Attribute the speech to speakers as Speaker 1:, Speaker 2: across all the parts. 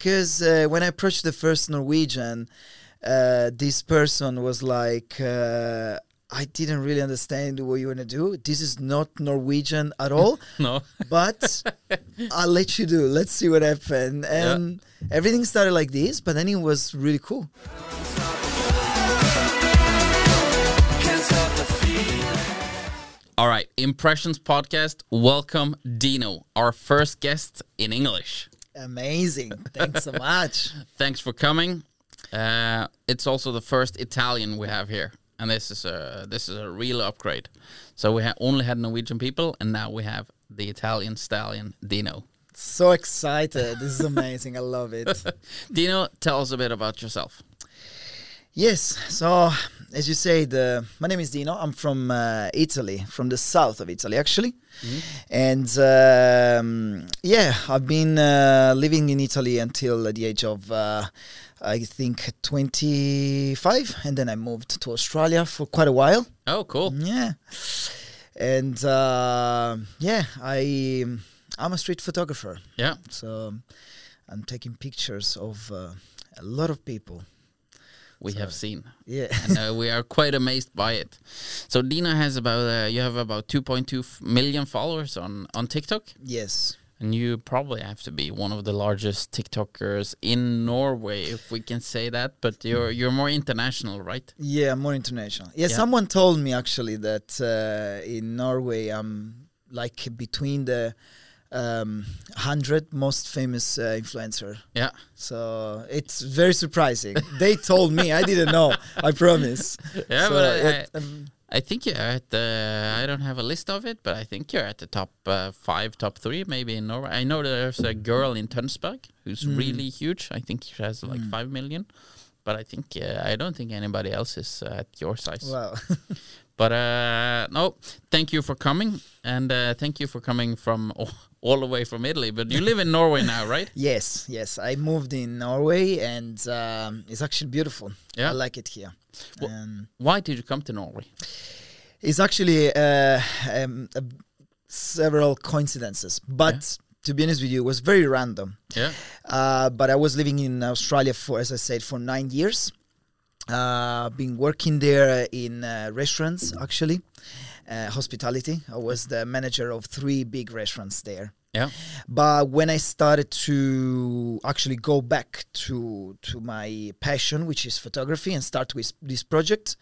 Speaker 1: because uh, when I approached the first Norwegian, uh, this person was like, uh, I didn't really understand what you want to do. This is not Norwegian at all.
Speaker 2: No.
Speaker 1: But I'll let you do. Let's see what happens. And everything started like this, but then it was really cool.
Speaker 2: All right, Impressions Podcast. Welcome, Dino, our first guest in English.
Speaker 1: Amazing. Thanks so much.
Speaker 2: Thanks for coming. Uh, it's also the first Italian we have here, and this is a this is a real upgrade. So we ha- only had Norwegian people, and now we have the Italian stallion Dino.
Speaker 1: So excited. This is amazing. I love it.
Speaker 2: Dino, tell us a bit about yourself.
Speaker 1: Yes. So, as you said, uh, my name is Dino. I'm from uh, Italy, from the south of Italy, actually. And um, yeah, I've been uh, living in Italy until the age of, uh, I think, 25. And then I moved to Australia for quite a while.
Speaker 2: Oh, cool.
Speaker 1: Yeah. And uh, yeah, I, I'm a street photographer.
Speaker 2: Yeah.
Speaker 1: So, I'm taking pictures of uh, a lot of people.
Speaker 2: we have seen.
Speaker 1: Yeah.
Speaker 2: and uh, we are quite amazed by it. So Dina has about uh, you have about 2.2 f- million followers on on TikTok,
Speaker 1: yes.
Speaker 2: and you probably have to be one of the largest TikTokers in Norway, if we can say that. But you're you're more international, right?
Speaker 1: Yeah, more international. Yeah,
Speaker 2: Yeah.
Speaker 1: someone told me actually that uh, in Norway I'm like between the um, hundred most famous uh, influencer.
Speaker 2: Yeah.
Speaker 1: So it's very surprising. they told me I didn't know. I promise.
Speaker 2: Yeah,
Speaker 1: So
Speaker 2: but I,
Speaker 1: it-
Speaker 2: I,
Speaker 1: um,
Speaker 2: I think you're at the. I don't have a list of it, but I think you're at the top uh, five, top three, maybe in Norway. I know there's a girl in Tønsberg who's
Speaker 1: Mm.
Speaker 2: really huge. I think she has like five million, but I think uh, I don't think anybody else is uh, at your size.
Speaker 1: wow.
Speaker 2: But uh, no, thank you for coming, and uh, thank you for coming from all, all the way from Italy. But you live in Norway now, right?
Speaker 1: yes, yes. I moved in Norway, and um, it's actually beautiful.
Speaker 2: Yeah.
Speaker 1: I like it here.
Speaker 2: Wha-
Speaker 1: Um,
Speaker 2: Why did you come to Norway?
Speaker 1: It's actually uh, um, uh, several coincidences, but to be honest with you, it was very random.
Speaker 2: Yeah,
Speaker 1: Uh, but I was living in Australia for, as I said, for nine years. Uh, been working there in uh, restaurants, actually, uh, hospitality. I was the manager of three big restaurants there.
Speaker 2: yeah,
Speaker 1: But when I started to actually go back to to my passion, which is photography, and start with this project,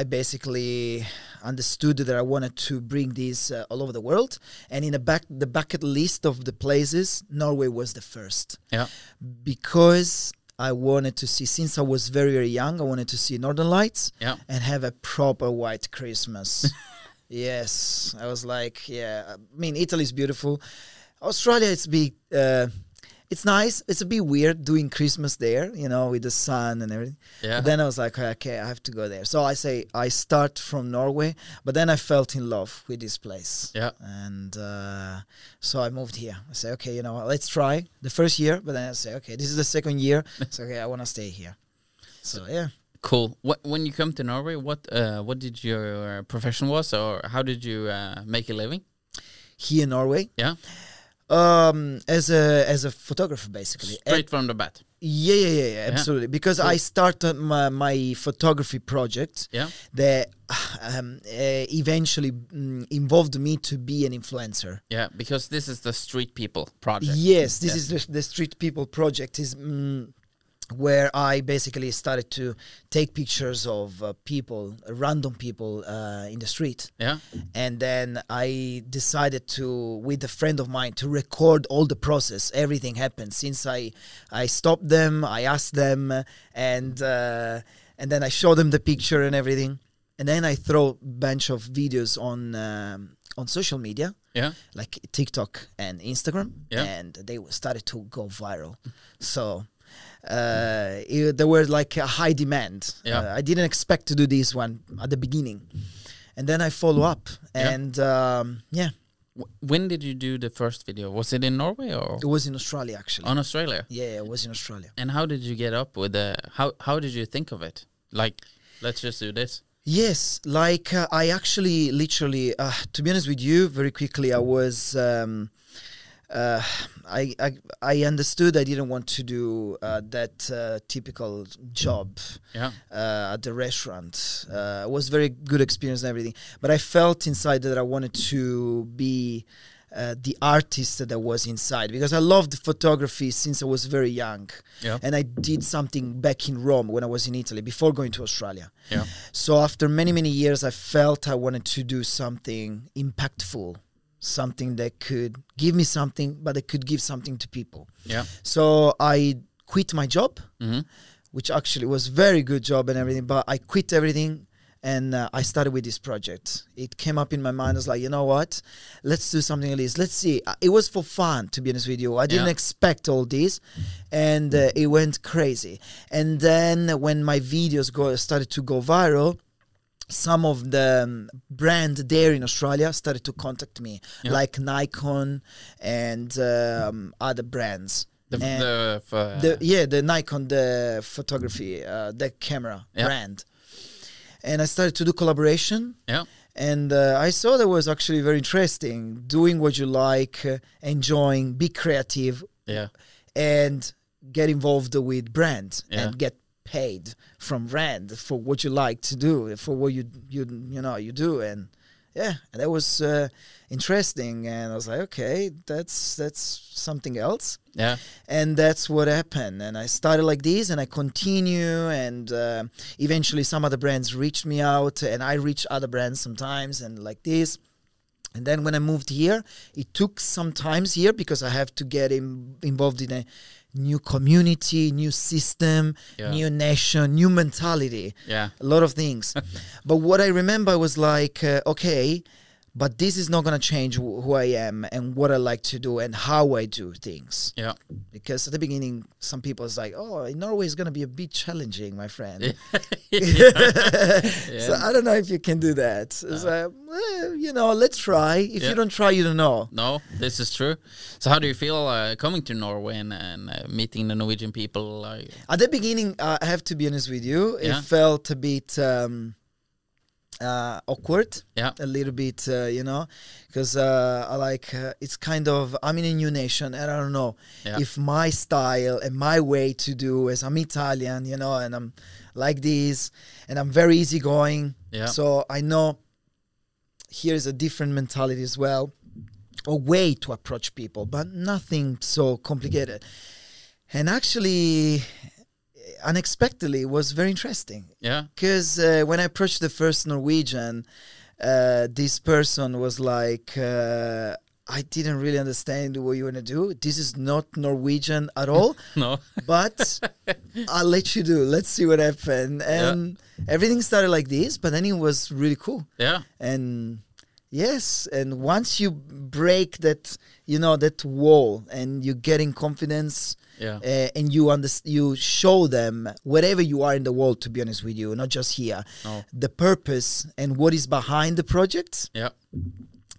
Speaker 1: I basically understood that I wanted to bring this uh, all over the world. And in the back the bucket list of the places, Norway was the first
Speaker 2: yeah,
Speaker 1: because I wanted to see since I was very very young. I wanted to see Northern Lights
Speaker 2: yeah.
Speaker 1: and have a proper white Christmas. yes, I was like, yeah. I mean, Italy's beautiful. Australia, it's be, uh, it's nice. It's a bit weird doing Christmas there, you know, with the sun and everything.
Speaker 2: Yeah.
Speaker 1: But then I was like, okay, I have to go there. So I say I start from Norway, but then I felt in love with this place.
Speaker 2: Yeah.
Speaker 1: And uh, so I moved here. I say, okay, you know, what, let's try the first year, but then I say, okay, this is the second year. So okay, I want to stay here. So yeah.
Speaker 2: Cool. What, when you come to Norway, what uh, what did your profession was, or how did you uh, make a living?
Speaker 1: here in Norway.
Speaker 2: Yeah,
Speaker 1: Um, as a as a photographer, basically. And-
Speaker 2: straight from the bat.
Speaker 1: yeah, yeah, yeah, yeah, absolutely. Because I started my, my photography project
Speaker 2: Yeah,
Speaker 1: that um, uh, eventually mm, involved me to be an influencer.
Speaker 2: yeah. Because this is the street people project.
Speaker 1: Yes, this
Speaker 2: Yeah.
Speaker 1: is the, the Street People project. Is mm, where I basically started to take pictures of uh, people, random people uh, in the street.
Speaker 2: Yeah,
Speaker 1: Mm-hmm. and then I decided to, with a friend of mine, to record all the process. Everything happened since I, I stopped them, I asked them, and uh, and then I showed them the picture and everything, and then I throw bunch of videos on um, on social media
Speaker 2: yeah.
Speaker 1: like TikTok and Instagram,
Speaker 2: Yeah.
Speaker 1: and they w- started to go viral. So uh, it, there were like a high demand.
Speaker 2: Yeah.
Speaker 1: Uh, I didn't expect to do this one at the beginning, and then I follow up,
Speaker 2: Yeah.
Speaker 1: and um, yeah,
Speaker 2: W- when did you do the first video? Was it in Norway or
Speaker 1: it was in Australia actually.
Speaker 2: on Australia?
Speaker 1: yeah, it was in Australia.
Speaker 2: And how did you get up with the how how did you think of it? Like, let's just do this.
Speaker 1: Yes, like uh, I actually literally, uh, to be honest with you, very quickly, I was um, uh, I, I I understood I didn't want to do uh, that uh, typical job
Speaker 2: Yeah.
Speaker 1: uh, at the restaurant. Uh, it was very good experience and everything, but I felt inside that I wanted to be uh, the artist that I was inside because I loved photography since I was very young,
Speaker 2: Yeah.
Speaker 1: and I did something back in Rome when I was in Italy before going to Australia.
Speaker 2: Yeah.
Speaker 1: So after many many years, I felt I wanted to do something impactful, something that could give me something, but that could give something to people.
Speaker 2: Yeah.
Speaker 1: So I quit my job,
Speaker 2: Mhm.
Speaker 1: which actually was very good job and everything. But I quit everything and uh, I started with this project. It came up in my mind. I was like, you know what? Let's do something like this. Let's see. Uh, It was for fun, to be honest with you. I didn't
Speaker 2: Yeah.
Speaker 1: expect all this, and uh, it went crazy. And then when my videos go started to go viral. Some of the um, brand there in Australia started to contact me,
Speaker 2: Yeah.
Speaker 1: like Nikon and um, other brands
Speaker 2: The,
Speaker 1: And-
Speaker 2: the, f- uh,
Speaker 1: the yeah the Nikon the photography uh, the camera
Speaker 2: Yeah.
Speaker 1: brand, and I started to do collaboration.
Speaker 2: yeah.
Speaker 1: And uh, I saw that was actually very interesting. Doing what you like, uh, enjoying, be creative,
Speaker 2: Yeah.
Speaker 1: and get involved with brand
Speaker 2: Yeah.
Speaker 1: and get paid from brand for what you like to do, for what you you you know you do. And yeah, and that was uh, interesting. And I was like, okay, that's that's something else
Speaker 2: Yeah.
Speaker 1: and that's what happened and i started like this and i continue and uh, eventually some other brands reached me out and i reached other brands sometimes and like this and then when i moved here it took some times here because i have to get in, involved in a new community new system
Speaker 2: Yeah.
Speaker 1: new nation new mentality
Speaker 2: Yeah.
Speaker 1: a lot of things. but what I remember was like, uh, okay, but this is not going to change wh- who I am and what I like to do and how I do things.
Speaker 2: Yeah.
Speaker 1: Because at the beginning, some people is like, oh, in Norway is going to be a bit challenging, my friend. So I don't know if you can do that. So It's like, well, you know, let's try. If
Speaker 2: Yeah.
Speaker 1: you don't try, you don't know.
Speaker 2: No, this is true. So, how do you feel uh, coming to Norway and, and uh, meeting the Norwegian people? Uh,
Speaker 1: At the beginning, uh, I have to be honest with you,
Speaker 2: Yeah.
Speaker 1: it felt a bit um, uh, awkward.
Speaker 2: yeah,
Speaker 1: a little bit, uh, you know, because uh, I like uh, it's kind of I'm in a new nation, and I don't know
Speaker 2: Yeah.
Speaker 1: if my style and my way to do is I'm Italian, you know, and I'm like this, and I'm very easygoing.
Speaker 2: Yeah.
Speaker 1: So I know here is a different mentality as well, a way to approach people, but nothing so complicated. And actually, unexpectedly, it was very interesting
Speaker 2: yeah,
Speaker 1: because uh, when I approached the first Norwegian, uh, this person was like, uh, I didn't really understand what you want to do. This is not Norwegian at all,
Speaker 2: no,
Speaker 1: but I'll let you do. Let's see what happens. And everything started like this, but then it was really cool.
Speaker 2: yeah,
Speaker 1: And yes, and once you break that, you know, that wall and you get in confidence,
Speaker 2: yeah,
Speaker 1: uh, and you underst- you show them wherever you are in the world to be honest with you not just here
Speaker 2: No.
Speaker 1: the purpose and what is behind the project
Speaker 2: yeah,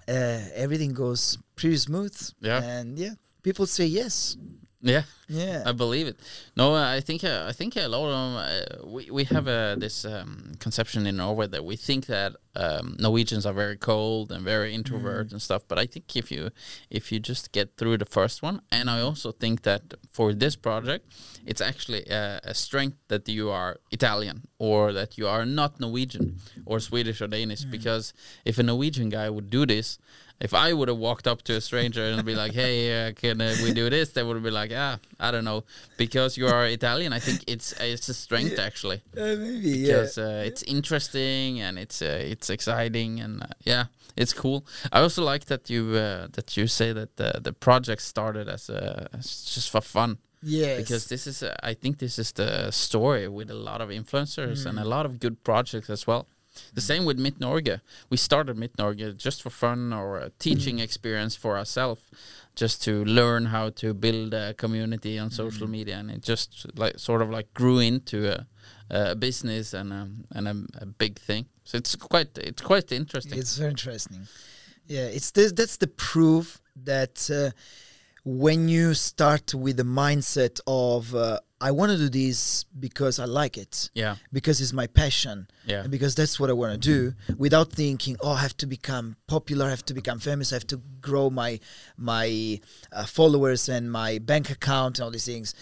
Speaker 1: uh, everything goes pretty smooth
Speaker 2: Yeah.
Speaker 1: and yeah people say yes
Speaker 2: yeah.
Speaker 1: yeah
Speaker 2: I believe it. No, I think uh, I think a lot of uh, we we have uh, this um, conception in Norway that we think that um, Norwegians are very cold and very introvert and stuff. But I think if you if you just get through the first one, and I also think that for this project, it's actually uh, a, a strength that you are Italian or that you are not Norwegian or Swedish or Danish.
Speaker 1: Mm.
Speaker 2: Because if a Norwegian guy would do this. If I would have walked up to a stranger and be like, "Hey, uh, can uh, we do this?" They would be like, "Ah, I don't know," because you are Italian. I think it's uh, it's a strength actually,
Speaker 1: Uh, maybe yeah
Speaker 2: because uh, it's interesting and it's uh, it's exciting and uh, yeah, it's cool. I also like that you uh, that you say that the the project started as, uh, as just for fun
Speaker 1: yes
Speaker 2: because this is uh, I think this is the story with a lot of influencers and a
Speaker 1: Mm.
Speaker 2: lot of good projects as well. The same with Mitt Norge. We started Mitt Norge just for fun or a
Speaker 1: Mm.
Speaker 2: teaching experience for ourselves, just to learn how to build a community on
Speaker 1: Mm.
Speaker 2: social media, and it just like sort of like grew into a, a business and a, and a, a big thing. So it's quite it's quite interesting.
Speaker 1: it's very interesting yeah it's this that's the proof that uh, when you start with the mindset of uh, I want to do this because I like it,
Speaker 2: Yeah.
Speaker 1: because it's my passion,
Speaker 2: Yeah.
Speaker 1: and because that's what I want to do, without thinking, oh, I have to become popular, I have to become famous, I have to grow my my uh, followers and my bank account and all these things.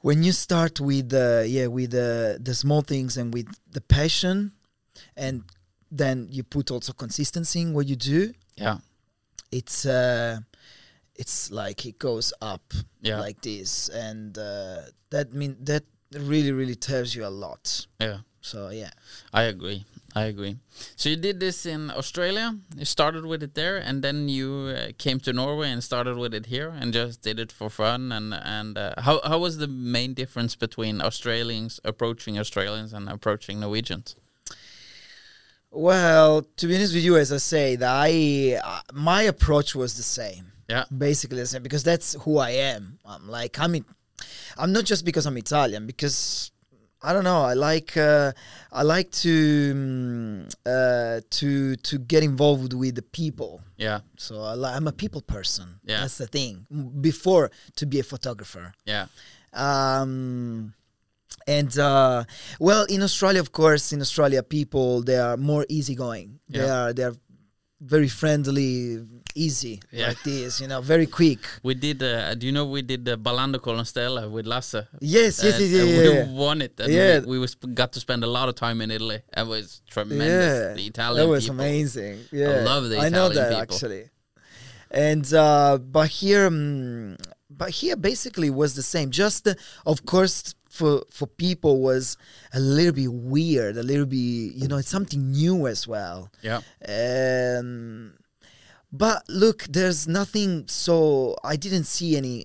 Speaker 1: When you start with uh, yeah with uh, the small things and with the passion, and then you put also consistency in what you do,
Speaker 2: Yeah.
Speaker 1: it's uh it's like it goes up
Speaker 2: Yeah.
Speaker 1: like this and uh that mean that really really tells you a lot
Speaker 2: Yeah.
Speaker 1: so yeah
Speaker 2: I agree. I agree. So you did this in Australia. You started with it there, and then you uh, came to Norway and started with it here, and just did it for fun. And and uh, how how was the main difference between Australians approaching Australians and approaching Norwegians?
Speaker 1: well to be honest with you as i say that i uh, my approach was the same
Speaker 2: Yeah.
Speaker 1: basically the same because that's who i am i'm like i'm it- i'm not just because i'm italian because I don't know. I like uh, I like to mm, uh, to to get involved with the people
Speaker 2: Yeah.
Speaker 1: So I li- I'm a people person.
Speaker 2: Yeah.
Speaker 1: That's the thing. M- Before to be a photographer.
Speaker 2: Yeah.
Speaker 1: Um, and uh, well, in Australia, of course, in Australia, people they are more easygoing. They
Speaker 2: Yeah.
Speaker 1: are they are very friendly, easy
Speaker 2: Yeah.
Speaker 1: like this. You know, very quick.
Speaker 2: We did. Uh, do you know we did the Ballando con la Stella with Lasse?
Speaker 1: Yes, yes,
Speaker 2: And-
Speaker 1: yes, yeah,
Speaker 2: and
Speaker 1: yeah. yeah.
Speaker 2: We won it. And
Speaker 1: Yeah.
Speaker 2: We, we was, got to spend a lot of time in Italy. It was tremendous.
Speaker 1: Yeah,
Speaker 2: The Italian
Speaker 1: that was
Speaker 2: people.
Speaker 1: amazing. Yeah,
Speaker 2: love the
Speaker 1: I know
Speaker 2: Italian
Speaker 1: that
Speaker 2: people.
Speaker 1: actually. And uh, but here, um, but here basically was the same. Just uh, of course for for people was a little bit weird, a little bit you know it's something new as well.
Speaker 2: Yeah.
Speaker 1: Um, but look, there's nothing. So I didn't see any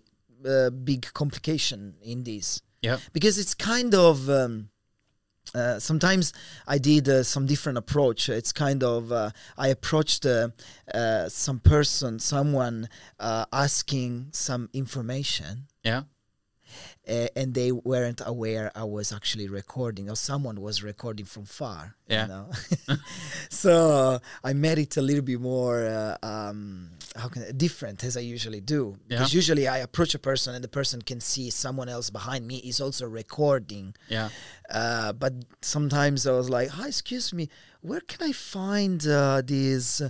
Speaker 1: uh, big complication in this
Speaker 2: Yeah.
Speaker 1: because it's kind of um, uh, sometimes I did uh, some different approach. It's kind of uh, I approached uh, uh, some person, someone uh, asking some information,
Speaker 2: Yeah.
Speaker 1: uh, and they weren't aware I was actually recording, or someone was recording from far.
Speaker 2: Yeah.
Speaker 1: You know? so I made it a little bit more uh, um, how can different as I usually do. Because usually I approach a person, and the person can see someone else behind me is also recording.
Speaker 2: Yeah.
Speaker 1: Uh, but sometimes I was like, "Hi, excuse me, where can I find uh, these?"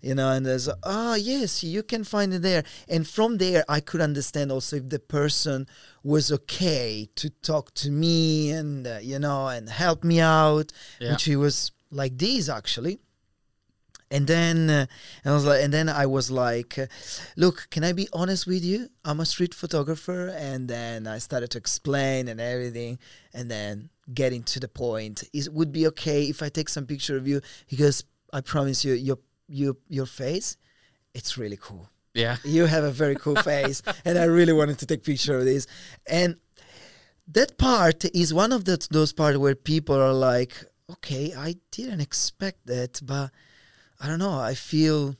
Speaker 1: You know, and there's, ah, yes, you can find it there. And from there, I could understand also if the person was okay to talk to me and, uh, you know, and help me out,
Speaker 2: Yeah.
Speaker 1: which he was like this actually. And then, uh, and I was like, and then I was like, uh, "Look, can I be honest with you? I'm a street photographer." And then I started to explain and everything, and then getting to the point. Is would be okay if I take some picture of you because I promise you, your your your face, it's really cool.
Speaker 2: Yeah.
Speaker 1: You have a very cool face, and I really wanted to take picture of this. And that part is one of the, those parts where people are like, "Okay, I didn't expect that, but I don't know. I feel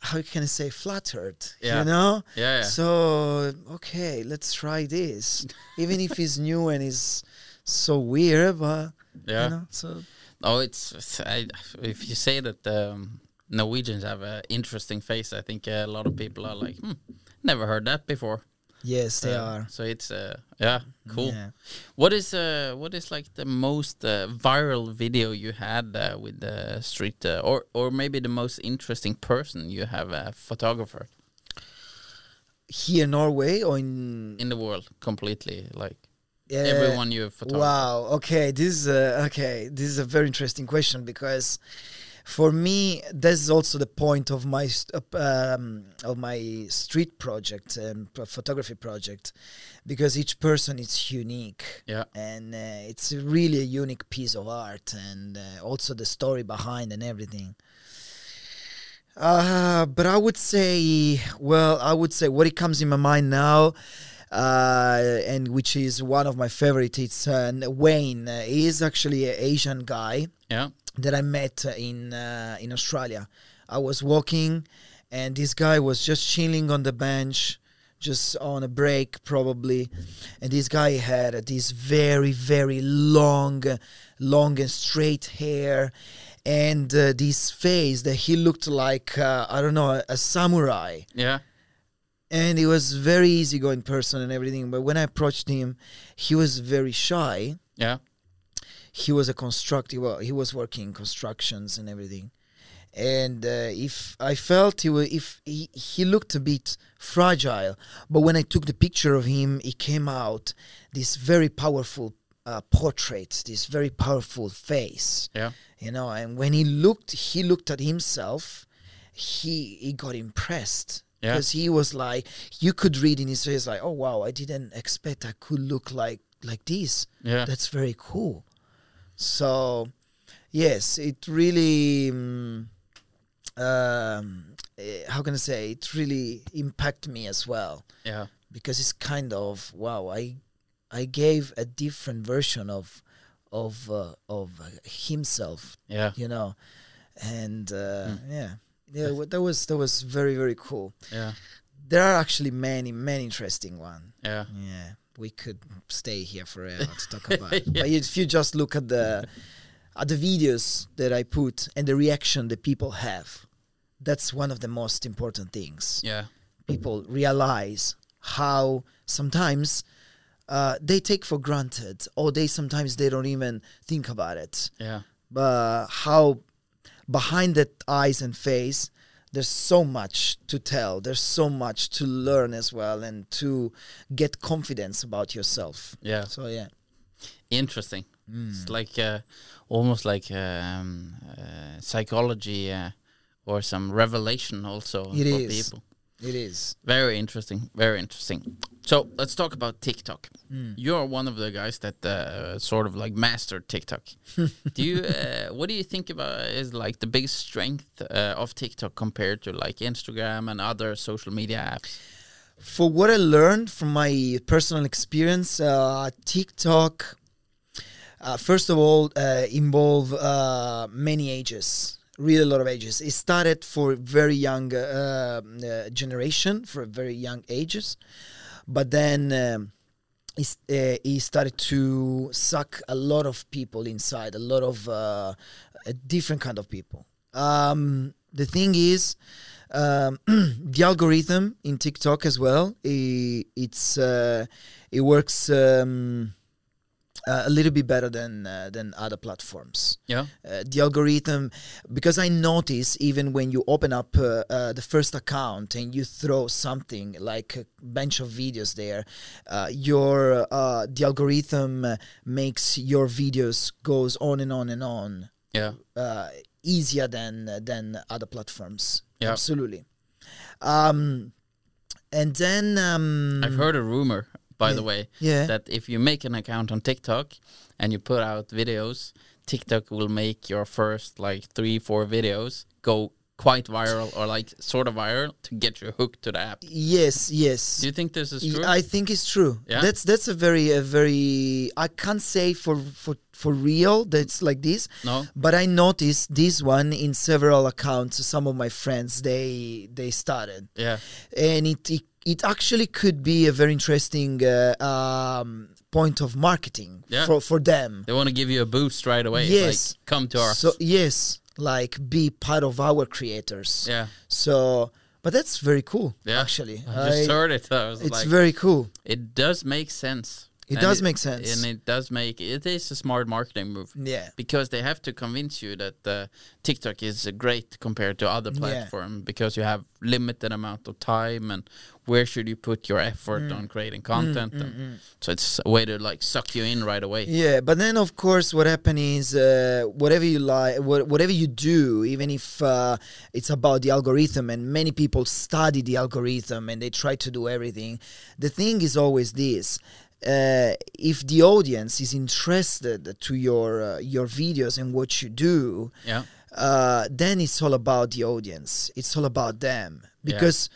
Speaker 1: how can I say flattered?
Speaker 2: Yeah.
Speaker 1: You know?
Speaker 2: Yeah, yeah.
Speaker 1: So okay, let's try this, even if it's new and it's so weird, but
Speaker 2: Yeah.
Speaker 1: you know, so
Speaker 2: Oh, it's, it's- I, if you say that um, Norwegians have an interesting face, I think uh, a lot of people are like, hmm, never heard that before.
Speaker 1: yes, they
Speaker 2: Uh,
Speaker 1: are.
Speaker 2: So it's uh, yeah, cool.
Speaker 1: Yeah.
Speaker 2: What is uh, what is like the most uh, viral video you had uh, with the street, uh, or or maybe the most interesting person you have a photographer
Speaker 1: Here in Norway or in
Speaker 2: in the world completely, like
Speaker 1: Yeah.
Speaker 2: everyone you have photographed.
Speaker 1: Uh, Wow. Okay. This is a, okay. This is a very interesting question because, for me, this is also the point of my st- of, um, of my street project and p- photography project, because each person is unique.
Speaker 2: Yeah.
Speaker 1: And uh, it's really a unique piece of art, and uh, also the story behind and everything. Uh, but I would say, well, I would say what it comes in my mind now, uh, and which is one of my favorite, it's uh, Wayne. Uh, he is actually an Asian guy
Speaker 2: Yeah.
Speaker 1: that I met uh, in uh, in Australia. I was walking, and this guy was just chilling on the bench, just on a break probably, and this guy had uh, this very very long, uh, long and straight hair, and uh, this face that he looked like uh, I don't know a, a samurai.
Speaker 2: Yeah.
Speaker 1: and he was very easygoing person and everything. But when I approached him, he was very shy.
Speaker 2: Yeah.
Speaker 1: He was a constructive. Well, he was working constructions and everything. And uh, if I felt he was, if he, he looked a bit fragile, but when I took the picture of him, he came out this very powerful uh, portrait, this very powerful face
Speaker 2: Yeah.
Speaker 1: you know and when he looked he looked at himself he he got impressed
Speaker 2: Yeah.
Speaker 1: because he was like you could read in his face like oh wow i didn't expect i could look like like this
Speaker 2: Yeah.
Speaker 1: that's very cool so yes it really mm, um, eh, how can i say it really impacted me as well
Speaker 2: Yeah.
Speaker 1: because it's kind of wow i i gave a different version of of uh, of uh, himself
Speaker 2: Yeah.
Speaker 1: you know and uh, yeah yeah wa- that was that was very very cool
Speaker 2: Yeah.
Speaker 1: there are actually many many interesting one
Speaker 2: Yeah.
Speaker 1: yeah we could stay here forever to talk about it. but if you just look at the at the videos that i put and the reaction that people have that's one of the most important things
Speaker 2: Yeah.
Speaker 1: people realize how sometimes uh, they take for granted or they sometimes they don't even think about it
Speaker 2: Yeah.
Speaker 1: but how behind that eyes and face there's so much to tell there's so much to learn as well and to get confidence about yourself
Speaker 2: Yeah.
Speaker 1: so yeah
Speaker 2: Interesting.
Speaker 1: Hmm.
Speaker 2: It's like uh, almost like um, uh, psychology uh, or some revelation also
Speaker 1: It
Speaker 2: for
Speaker 1: is.
Speaker 2: people.
Speaker 1: it is
Speaker 2: Very interesting. Very interesting. So let's talk about TikTok.
Speaker 1: Hmm.
Speaker 2: You're one of the guys that uh, sort of like mastered TikTok. do you? Uh, what do you think about is like the biggest strength uh, of TikTok compared to like Instagram and other social media apps?
Speaker 1: for what I learned from my personal experience, uh, TikTok, uh, first of all, uh, involve uh, many ages, really a lot of ages. It started for very young uh, um, uh, generation, for very young ages, but then. Um, is- uh, he started to suck a lot of people inside, a lot of uh, a different kind of people. Um, the thing is, um, the algorithm in TikTok as well, i it's uh, it works um, uh, a little bit better than uh, than other platforms
Speaker 2: Yeah.
Speaker 1: uh, the algorithm because I notice even when you open up uh, uh, the first account and you throw something like a bunch of videos there, uh, your uh, the algorithm uh, makes your videos goes on and on and on
Speaker 2: Yeah.
Speaker 1: uh, easier than than other platforms.
Speaker 2: Yeah.
Speaker 1: Absolutely. Um, and then um,
Speaker 2: I've heard a rumor, by the
Speaker 1: Yeah.
Speaker 2: way,
Speaker 1: Yeah.
Speaker 2: that if you make an account on TikTok and you put out videos, TikTok will make your first like three, four videos go quite viral or like sort of viral to get you hooked to the app.
Speaker 1: yes, yes.
Speaker 2: Do you think this is
Speaker 1: Y-
Speaker 2: true?
Speaker 1: I think it's true.
Speaker 2: Yeah?
Speaker 1: That's that's a very a very I can't say for for for real that's like this.
Speaker 2: No.
Speaker 1: But I noticed this one in several accounts. Some of my friends they they started,
Speaker 2: yeah,
Speaker 1: and it it, it actually could be a very interesting uh, um, point of marketing
Speaker 2: Yeah.
Speaker 1: for for them.
Speaker 2: they want to give you a boost right away.
Speaker 1: Yes.
Speaker 2: like, come to our.
Speaker 1: So yes, like be part of our creators.
Speaker 2: yeah,
Speaker 1: So, but that's very cool.
Speaker 2: yeah.
Speaker 1: Actually,
Speaker 2: I just
Speaker 1: I-
Speaker 2: heard it. I was
Speaker 1: it's
Speaker 2: like,
Speaker 1: very cool.
Speaker 2: it does make sense.
Speaker 1: It
Speaker 2: And
Speaker 1: does make sense.
Speaker 2: and it does make it is a smart marketing move.
Speaker 1: Yeah.
Speaker 2: because they have to convince you that uh, TikTok is uh, great compared to other platform because you have limited amount of time and where should you put your effort on creating content? and So it's a way to like suck you in right away.
Speaker 1: Yeah, but then of course, what happened is uh, whatever you like, wha- whatever you do, even if uh, it's about the algorithm, and many people study the algorithm and they try to do everything. The thing is always this: uh, if the audience is interested to your uh, your videos and what you do,
Speaker 2: Yeah,
Speaker 1: uh, then it's all about the audience. It's all about them because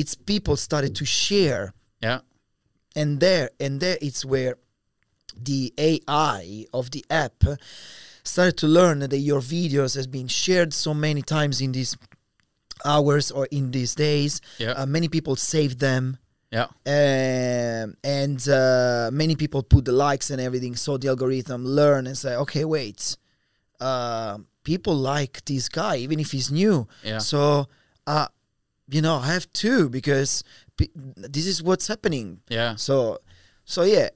Speaker 1: it's people started to share
Speaker 2: yeah,
Speaker 1: and there and there it's where the AI of the app started to learn that your videos has been shared so many times in these hours or in these days.
Speaker 2: Yeah.
Speaker 1: Uh, many people save them.
Speaker 2: yeah,
Speaker 1: Um, and uh, many people put the likes and everything, so the algorithm learn and say, okay, wait, uh, people like this guy even if he's new.
Speaker 2: Yeah.
Speaker 1: So, uh, you know, I have to because pe- this is what's happening.
Speaker 2: Yeah.
Speaker 1: So, so yeah,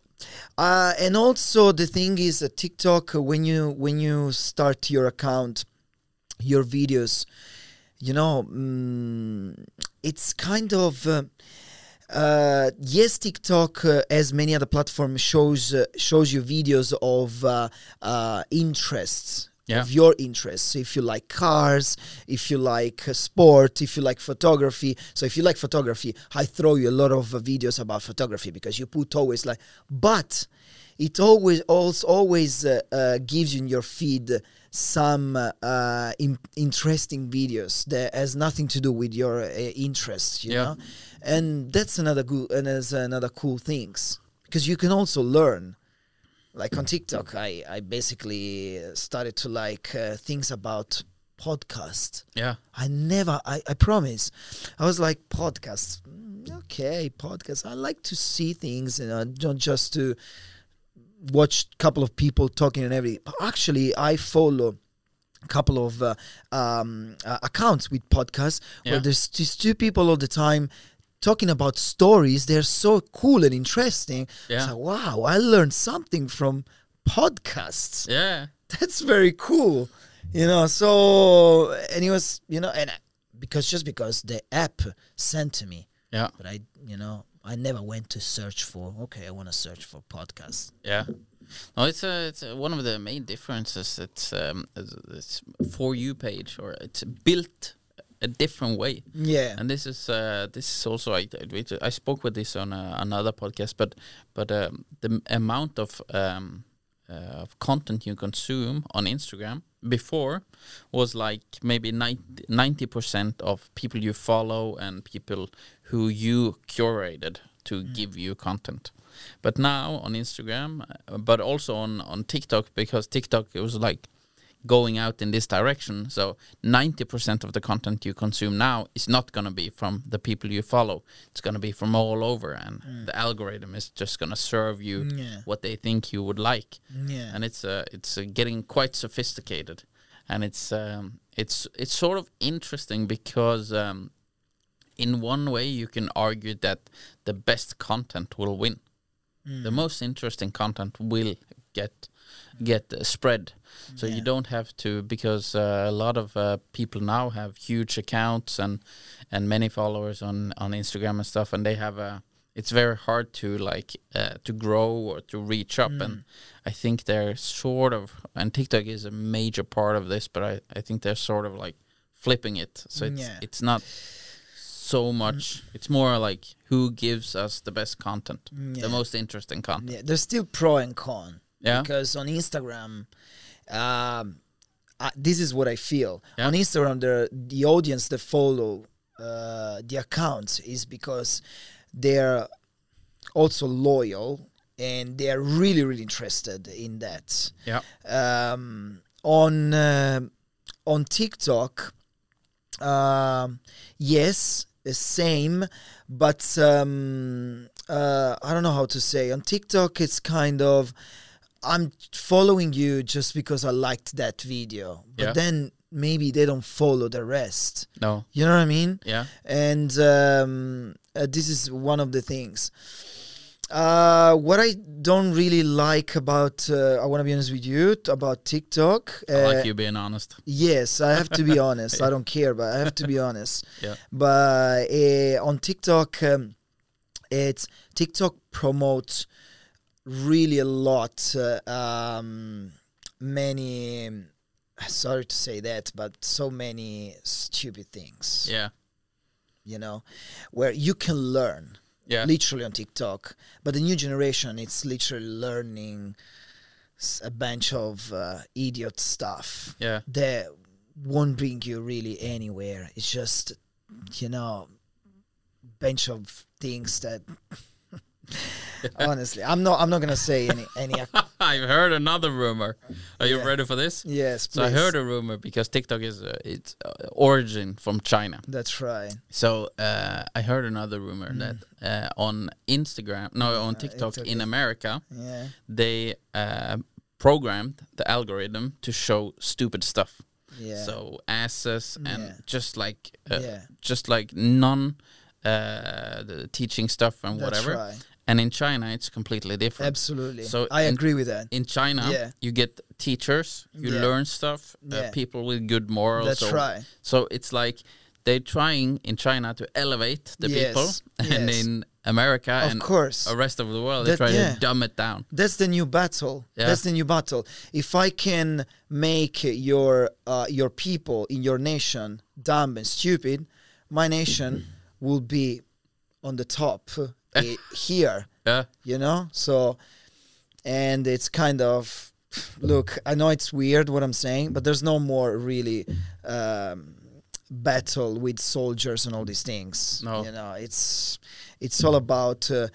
Speaker 1: uh, and also the thing is that TikTok uh, when you when you start your account, your videos, you know, mm, it's kind of. Uh, uh, yes, TikTok, uh, as many other platforms, shows uh, shows you videos of uh, uh, interests
Speaker 2: Yeah.
Speaker 1: of your interests. So if you like cars, if you like uh, sport, if you like photography. So if you like photography, I throw you a lot of uh, videos about photography because you put always like, but it always also always uh, uh, gives you in your feed some uh, uh, in- interesting videos that has nothing to do with your uh, interests you
Speaker 2: Yeah.
Speaker 1: know and that's another good and that's another cool things because you can also learn like on TikTok, I, I basically uh, started to like uh, things about podcast.
Speaker 2: Yeah.
Speaker 1: I never, I, I promise. I was like, podcast. mm, Okay, podcast. I like to see things, you know, not just to watch couple of people talking and everything. But actually, I follow a couple of uh, um, uh, accounts with podcasts
Speaker 2: Yeah.
Speaker 1: where there's these two people all the time talking about stories. They're so cool and interesting.
Speaker 2: Yeah.
Speaker 1: So, wow, I learned something from podcasts
Speaker 2: Yeah.
Speaker 1: that's very cool you know so and it was you know and I, because just because the app sent to me
Speaker 2: Yeah.
Speaker 1: but i you know i never went to search for okay i want to search for podcast
Speaker 2: Yeah. No, it's a, it's a, one of the main differences. It's um, it's, it's for you page or it's built a different way.
Speaker 1: yeah
Speaker 2: And this is uh, this is also I I- we- I spoke with this on uh, another podcast, but but um, the m- amount of um, uh, of content you consume on Instagram before was like maybe ninety percent of people you follow and people who you curated to give you content. But now on Instagram, uh, but also on on TikTok because TikTok it was like going out in this direction. So 90% of the content you consume now is not going to be from the people you follow. It's going to be from all over and the algorithm is just going to serve you
Speaker 1: Mm. Yeah.
Speaker 2: what they think you would like.
Speaker 1: Yeah.
Speaker 2: And it's uh, it's uh, getting quite sophisticated. And it's um, it's it's sort of interesting because um, in one way you can argue that the best content will win the
Speaker 1: Mm.
Speaker 2: most interesting content will get get uh, spread so you don't have to because uh, a lot of uh, people now have huge accounts and and many followers on on Instagram and stuff and they have a it's very hard to like uh, to grow or to reach up
Speaker 1: Mm.
Speaker 2: and I think they're sort of and TikTok is a major part of this but I I think they're sort of like flipping it so it's
Speaker 1: Yeah. Mm.
Speaker 2: it's not so much it's more like who gives us the best content
Speaker 1: Yeah.
Speaker 2: the most interesting content
Speaker 1: yeah there's still pro and con
Speaker 2: Yeah.
Speaker 1: because on instagram um I, this is what i feel
Speaker 2: Yeah.
Speaker 1: on instagram the the audience that follow uh the accounts is because they're also loyal and they're really really interested in that
Speaker 2: yeah
Speaker 1: um, on uh, on TikTok. Um, yes, the same, but um, uh, I don't know how to say. On TikTok, it's kind of I'm following you just because I liked that video, but
Speaker 2: Yeah.
Speaker 1: then maybe they don't follow the rest.
Speaker 2: no
Speaker 1: You know what I mean?
Speaker 2: yeah
Speaker 1: and um, uh, this is one of the things. Uh, what I don't really like about, uh, I want to be honest with you, t- about TikTok. Uh,
Speaker 2: I like you being honest
Speaker 1: Yes, I have to be honest. I don't care, but I have to be honest.
Speaker 2: Yeah.
Speaker 1: But uh, on TikTok, um, it's TikTok promotes really a lot. Uh, um, many, sorry to say that, but so many stupid things
Speaker 2: yeah
Speaker 1: you know, where you can learn
Speaker 2: yeah
Speaker 1: literally on TikTok. But the new generation, it's literally learning s- a bunch of uh, idiot stuff
Speaker 2: yeah
Speaker 1: that won't bring you really anywhere. It's just, you know, bunch of things that. Honestly, I'm not. I'm not gonna say any. any ac-
Speaker 2: I've heard another rumor are you
Speaker 1: Yeah.
Speaker 2: ready for this
Speaker 1: yes,
Speaker 2: so I
Speaker 1: please.
Speaker 2: heard a rumor because TikTok is uh, its uh, origin from China
Speaker 1: That's right.
Speaker 2: so uh, I heard another rumor
Speaker 1: Hmm.
Speaker 2: that uh, on Instagram no on TikTok
Speaker 1: TikTok
Speaker 2: in
Speaker 1: is-
Speaker 2: America
Speaker 1: Yeah.
Speaker 2: they uh, programmed the algorithm to show stupid stuff
Speaker 1: Yeah.
Speaker 2: so asses and
Speaker 1: Yeah.
Speaker 2: just like uh,
Speaker 1: Yeah.
Speaker 2: just like non uh, the teaching stuff and
Speaker 1: That's
Speaker 2: whatever.
Speaker 1: right.
Speaker 2: And in China, it's completely different.
Speaker 1: Absolutely.
Speaker 2: So
Speaker 1: I
Speaker 2: in-
Speaker 1: agree with that.
Speaker 2: in China,
Speaker 1: Yeah.
Speaker 2: you get teachers, you
Speaker 1: Yeah.
Speaker 2: learn stuff,
Speaker 1: Yeah.
Speaker 2: uh, people with good morals.
Speaker 1: That's
Speaker 2: or-
Speaker 1: right.
Speaker 2: So it's like they're trying in China to elevate the people,
Speaker 1: Yes,
Speaker 2: and
Speaker 1: yes.
Speaker 2: in America
Speaker 1: Of
Speaker 2: and
Speaker 1: course.
Speaker 2: the rest of the world,
Speaker 1: That-
Speaker 2: they try
Speaker 1: yeah.
Speaker 2: to dumb it down.
Speaker 1: That's the new battle.
Speaker 2: Yeah.
Speaker 1: That's the new battle. If I can make your uh, your people in your nation dumb and stupid, my nation will be on the top uh, here.
Speaker 2: Yeah,
Speaker 1: You know. So, and it's kind of look. I know it's weird what I'm saying, but there's no more really. Um, battle with soldiers and all these things
Speaker 2: No.
Speaker 1: you know it's it's all about uh,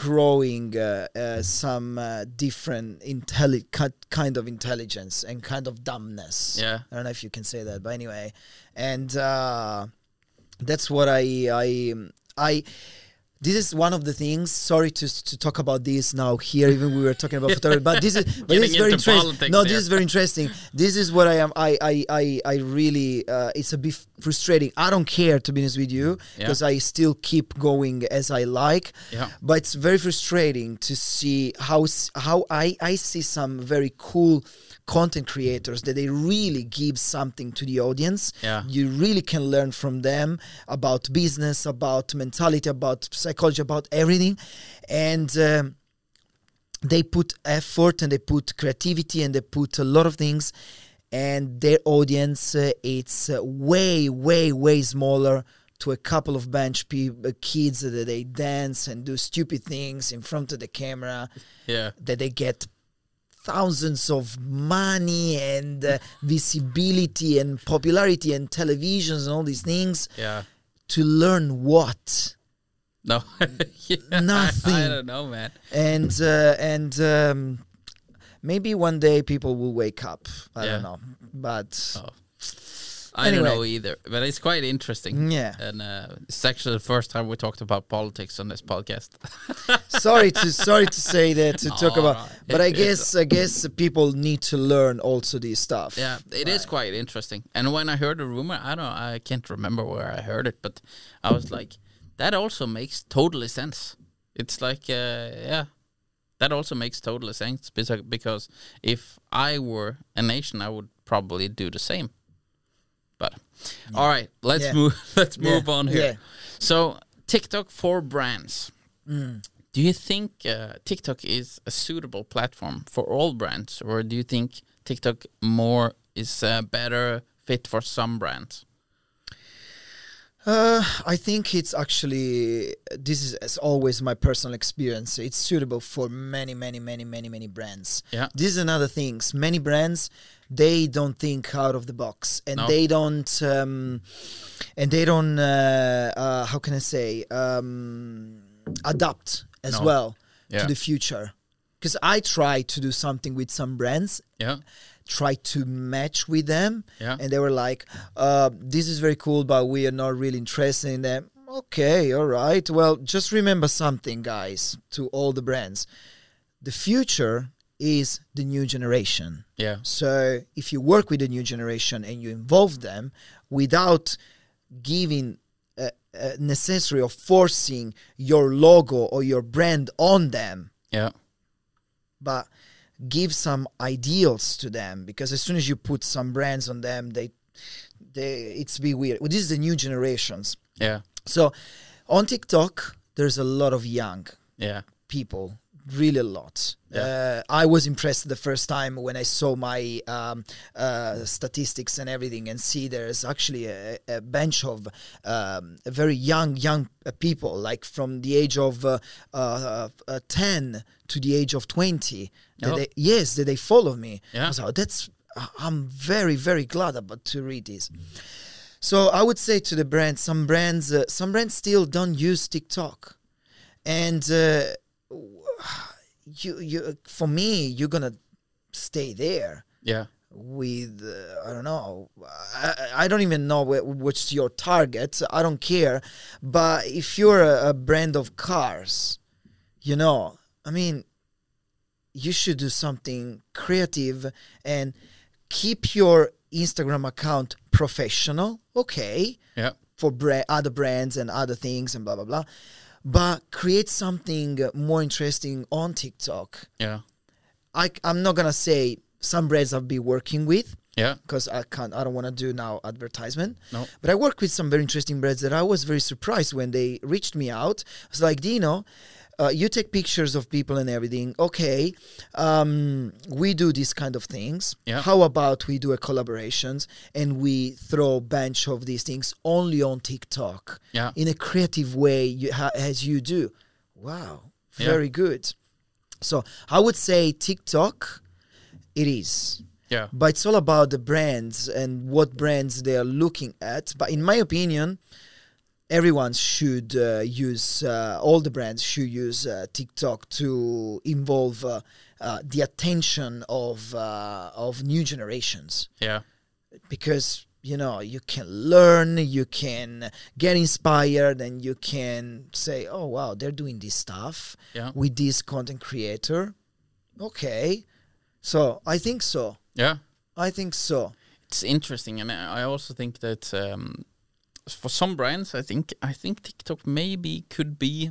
Speaker 1: growing uh, uh, some uh, different intelli- ki- kind of intelligence and kind of dumbness
Speaker 2: Yeah.
Speaker 1: i don't know if you can say that but anyway and uh, that's what i i i this is one of the things. Sorry to, to talk about this now here, even we were talking about photography, but this is but this
Speaker 2: Getting
Speaker 1: is very
Speaker 2: into
Speaker 1: interesting.
Speaker 2: politics
Speaker 1: No, this
Speaker 2: here.
Speaker 1: is very interesting. This is what I am. I I I, I really. Uh, it's a bit frustrating. I don't care to be honest with you
Speaker 2: Yeah.
Speaker 1: because I still keep going as I like.
Speaker 2: Yeah.
Speaker 1: But it's very frustrating to see how s- how I I see some very cool content creators that they really give something to the audience.
Speaker 2: Yeah.
Speaker 1: You really can learn from them about business, about mentality, about psychology, about everything, and. Um, they put effort and they put creativity and they put a lot of things and their audience uh, it's uh, way way way smaller to a couple of bench pe- uh, kids that they dance and do stupid things in front of the camera
Speaker 2: yeah.
Speaker 1: that they get thousands of money and uh, visibility and popularity and televisions and all these things
Speaker 2: Yeah.
Speaker 1: to learn what
Speaker 2: No. Yeah, I- I,
Speaker 1: Nothing.
Speaker 2: don't know, man.
Speaker 1: and uh, and um, maybe one day people will wake up. I
Speaker 2: Yeah.
Speaker 1: don't know, but
Speaker 2: Oh. I
Speaker 1: Anyway. Mm.
Speaker 2: don't know either, but it's quite interesting.
Speaker 1: Yeah.
Speaker 2: And uh, it's actually the first time we talked about politics on this podcast.
Speaker 1: sorry to sorry to say that to talk about.
Speaker 2: Alright.
Speaker 1: But I
Speaker 2: It-
Speaker 1: guess I guess people need to learn also this stuff.
Speaker 2: Yeah, it is quite interesting. And when I heard the rumor, I don't, I can't remember where I heard it, but I was like, that also makes totally sense. It's like, uh, yeah, that also makes totally sense because because if I were a nation, I would probably do the same. But all right, let's
Speaker 1: Yeah.
Speaker 2: move. Let's
Speaker 1: Yeah.
Speaker 2: move on here.
Speaker 1: Yeah.
Speaker 2: So TikTok for brands.
Speaker 1: Mm.
Speaker 2: Do you think uh, TikTok is a suitable platform for all brands, or do you think TikTok more is a better fit for some brands?
Speaker 1: Uh, I think it's actually this is as always my personal experience. It's suitable for many, many, many, many, many brands.
Speaker 2: Yeah.
Speaker 1: this is another things. Many brands they don't think out of the box, and
Speaker 2: No.
Speaker 1: they don't, um, and they don't. Uh, uh, how can I say? Um, adapt as
Speaker 2: No.
Speaker 1: well
Speaker 2: Yeah.
Speaker 1: to the future. Because I try to do something with some brands,
Speaker 2: Yeah,
Speaker 1: try to match with them
Speaker 2: Yeah.
Speaker 1: and they were like uh, this is very cool but we are not really interested in them okay all right well just remember something guys to all the brands the future is the new generation
Speaker 2: yeah,
Speaker 1: so if you work with the new generation and you involve them without giving uh, uh, necessary or forcing your logo or your brand on them
Speaker 2: yeah,
Speaker 1: but give some ideals to them because as soon as you put some brands on them they they it's be weird well, this is the new generations
Speaker 2: yeah,
Speaker 1: so on tiktok there's a lot of young
Speaker 2: yeah,
Speaker 1: people really a lot
Speaker 2: Yeah.
Speaker 1: uh, i was impressed the first time when i saw my um, uh, statistics and everything and see there's actually a, a bunch of um, very young young uh, people like from the age of uh, uh, uh, 10 to the age of 20 that
Speaker 2: Oh.
Speaker 1: they, yes that they follow me
Speaker 2: Yeah.
Speaker 1: so "Oh, that's I- i'm very very glad about to read this so I would say to the brands, some brands, uh, some brands still don't use TikTok, and uh, w- you, you, for me, you're gonna stay there
Speaker 2: yeah,
Speaker 1: with uh, I don't know. I, I- I don't even know wh- what's your target. I don't care. But if you're a, a brand of cars, you know, I mean, you should do something creative and keep your Instagram account professional. Okay,
Speaker 2: yeah,
Speaker 1: for bra- other brands and other things and blah blah blah, but create something more interesting on TikTok.
Speaker 2: Yeah.
Speaker 1: I I'm not gonna say some brands I've been working with
Speaker 2: Yeah.
Speaker 1: because I can't I don't want to do now advertisement.
Speaker 2: No.
Speaker 1: But I work with some very interesting brands that I was very surprised when they reached me out. It's like Dino, uh, you take pictures of people and everything. Okay, um, we do these kind of things.
Speaker 2: Yeah.
Speaker 1: How about we do a collaborations and we throw a bunch of these things only on TikTok?
Speaker 2: Yeah.
Speaker 1: in a creative way you, ha- as you do. Wow,
Speaker 2: Yeah.
Speaker 1: very good. So I would say TikTok, it is
Speaker 2: Yeah.
Speaker 1: but it's all about the brands and what brands they are looking at. But in my opinion, everyone should uh, use uh, all the brands should use uh, TikTok to involve uh, uh, the attention of uh, of new generations
Speaker 2: Yeah.
Speaker 1: because you know you can learn you can get inspired and you can say oh wow they're doing this stuff
Speaker 2: Yeah.
Speaker 1: with this content creator okay so i think so
Speaker 2: Yeah.
Speaker 1: I think so.
Speaker 2: It's interesting, and I I also think that um, for some brands, I think I think TikTok maybe could be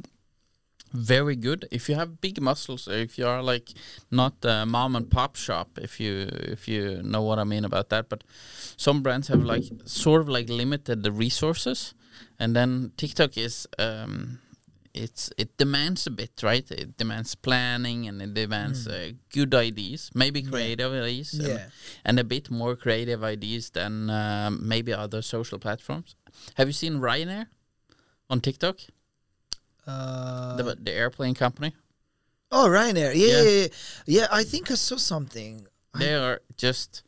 Speaker 2: very good if you have big muscles, or if you are like not a mom and pop shop, if you if you know what I mean about that. But some brands have like sort of like limited the resources, and then TikTok is. Um, it's it demands a bit, right? It demands planning and it demands uh, good ideas, maybe creative ideas, and-
Speaker 1: Yeah.
Speaker 2: and a bit more creative ideas than um maybe other social platforms. Have you seen Ryanair on TikTok,
Speaker 1: Uh,
Speaker 2: the, the airplane company?
Speaker 1: oh, Ryanair. Yeah,
Speaker 2: Yeah.
Speaker 1: yeah, yeah. Yeah, I think I saw something.
Speaker 2: They are just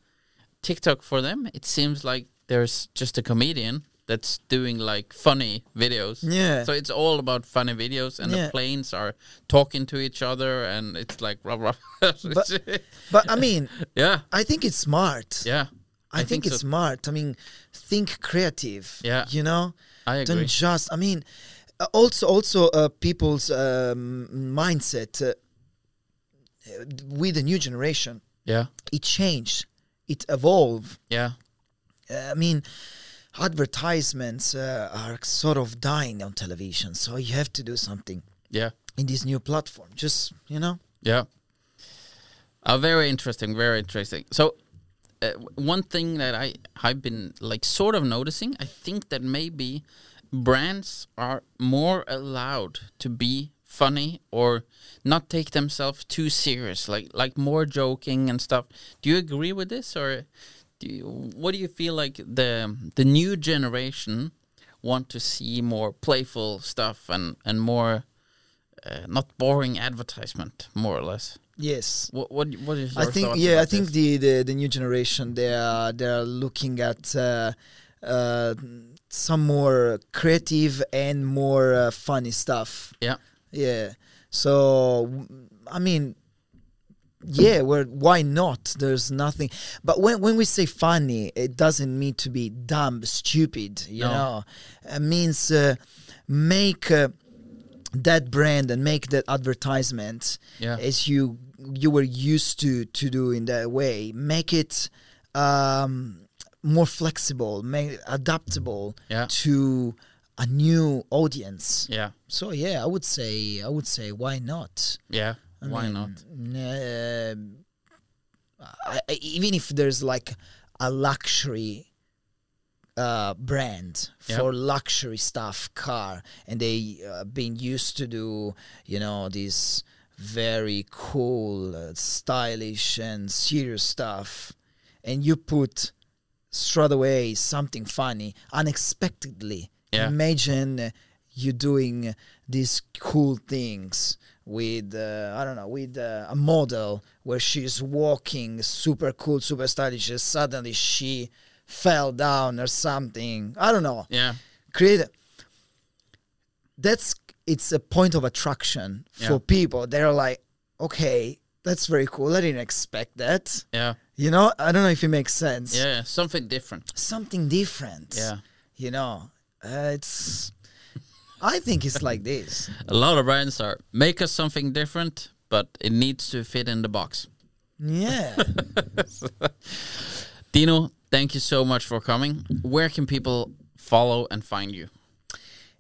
Speaker 2: TikTok for them. It seems like there's just a comedian that's doing like funny videos.
Speaker 1: Yeah.
Speaker 2: So it's all about funny videos, and
Speaker 1: Yeah.
Speaker 2: the planes are talking to each other, and it's like rah, rah.
Speaker 1: But I mean,
Speaker 2: yeah,
Speaker 1: I think it's smart.
Speaker 2: yeah.
Speaker 1: I, think, it's
Speaker 2: so.
Speaker 1: smart. I mean, think creative.
Speaker 2: Yeah.
Speaker 1: You know?
Speaker 2: I agree.
Speaker 1: Don't just, I mean, uh, also, also uh, people's um, mindset uh, uh, with the new generation,
Speaker 2: yeah,
Speaker 1: it changed, it evolved. Uh,
Speaker 2: yeah,
Speaker 1: I mean, advertisements uh, are sort of dying on television, so you have to do something.
Speaker 2: yeah.
Speaker 1: in this new platform. Just you know,
Speaker 2: Yeah. Uh, very interesting. Very interesting. So, uh, w- one thing that I I've been like sort of noticing, I think that maybe brands are more allowed to be funny or not take themselves too serious, like like more joking and stuff. Do you agree with this, or do you, what do you feel like the the new generation want to see more playful stuff and and more uh, not boring advertisement, more or less.
Speaker 1: yes.
Speaker 2: What what what is
Speaker 1: I
Speaker 2: your
Speaker 1: think
Speaker 2: thoughts
Speaker 1: yeah,
Speaker 2: about
Speaker 1: I think
Speaker 2: this?
Speaker 1: the, the the new generation they are they are looking at uh, uh, some more creative and more uh, funny stuff.
Speaker 2: yeah
Speaker 1: Yeah. So w- I mean, yeah. Well, why not? There's nothing. But when when we say funny, it doesn't mean to be dumb, stupid. You
Speaker 2: No.
Speaker 1: know, it means uh, make. Uh, that brand and make that advertisement
Speaker 2: Yeah.
Speaker 1: as you you were used to to do in that way make it um, more flexible make it adaptable
Speaker 2: Yeah.
Speaker 1: to a new audience
Speaker 2: yeah
Speaker 1: so yeah, I would say I would say why not?
Speaker 2: yeah
Speaker 1: I
Speaker 2: why
Speaker 1: mean,
Speaker 2: not
Speaker 1: n- uh, I, I- even if there's like a luxury uh, brand
Speaker 2: Yeah.
Speaker 1: for luxury stuff, car, and they uh, been used to do you know these very cool, uh, stylish, and serious stuff, and you put straight away something funny unexpectedly.
Speaker 2: Yeah.
Speaker 1: Imagine uh, you doing these cool things with uh, I don't know with uh, a model where she's walking super cool, super stylish. and suddenly she fell down or something. I don't know.
Speaker 2: yeah
Speaker 1: Create. That's it's a point of attraction
Speaker 2: Yeah.
Speaker 1: for people. They're like, okay, that's very cool. I didn't expect that.
Speaker 2: yeah
Speaker 1: You know, I don't know if it makes sense
Speaker 2: yeah yeah, something different
Speaker 1: something different.
Speaker 2: Yeah.
Speaker 1: You know, uh, it's. I think it's like this.
Speaker 2: a lot of brands are make us something different but it needs to fit in the box
Speaker 1: Yeah.
Speaker 2: Dino thank you so much for coming where can people follow and find you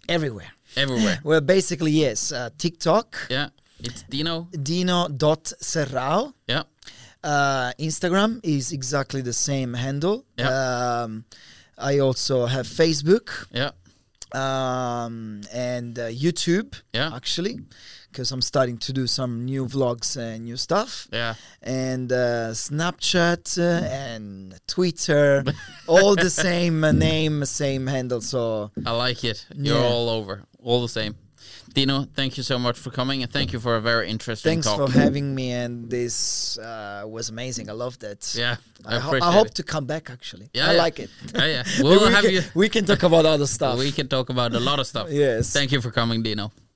Speaker 1: everywhere.
Speaker 2: everywhere?
Speaker 1: Well, basically, yes. Uh, TikTok,
Speaker 2: Yeah, it's Dino.
Speaker 1: dino.serrao.
Speaker 2: Yeah,
Speaker 1: Uh, Instagram is exactly the same handle.
Speaker 2: Yeah.
Speaker 1: Um, I also have Facebook
Speaker 2: yeah,
Speaker 1: um, and uh, YouTube,
Speaker 2: Yeah.
Speaker 1: actually, because I'm starting to do some new vlogs and new stuff.
Speaker 2: yeah.
Speaker 1: And uh, Snapchat uh, and Twitter, all the same uh, name, same handle. So
Speaker 2: I like it. You're
Speaker 1: Yeah.
Speaker 2: all over, all the same. Dino, thank you so much for coming, and thank you for a very interesting
Speaker 1: thanks
Speaker 2: talk.
Speaker 1: for having me. And this uh, was amazing. I loved it.
Speaker 2: yeah, I,
Speaker 1: I, ho-
Speaker 2: appreciate
Speaker 1: I hope
Speaker 2: it.
Speaker 1: to come back actually.
Speaker 2: Yeah,
Speaker 1: I
Speaker 2: yeah.
Speaker 1: like it.
Speaker 2: Oh, Yeah, yeah. We'll
Speaker 1: we
Speaker 2: have
Speaker 1: can,
Speaker 2: you.
Speaker 1: We can talk about other stuff.
Speaker 2: We can talk about a lot of stuff.
Speaker 1: Yes.
Speaker 2: Thank you for coming, Dino.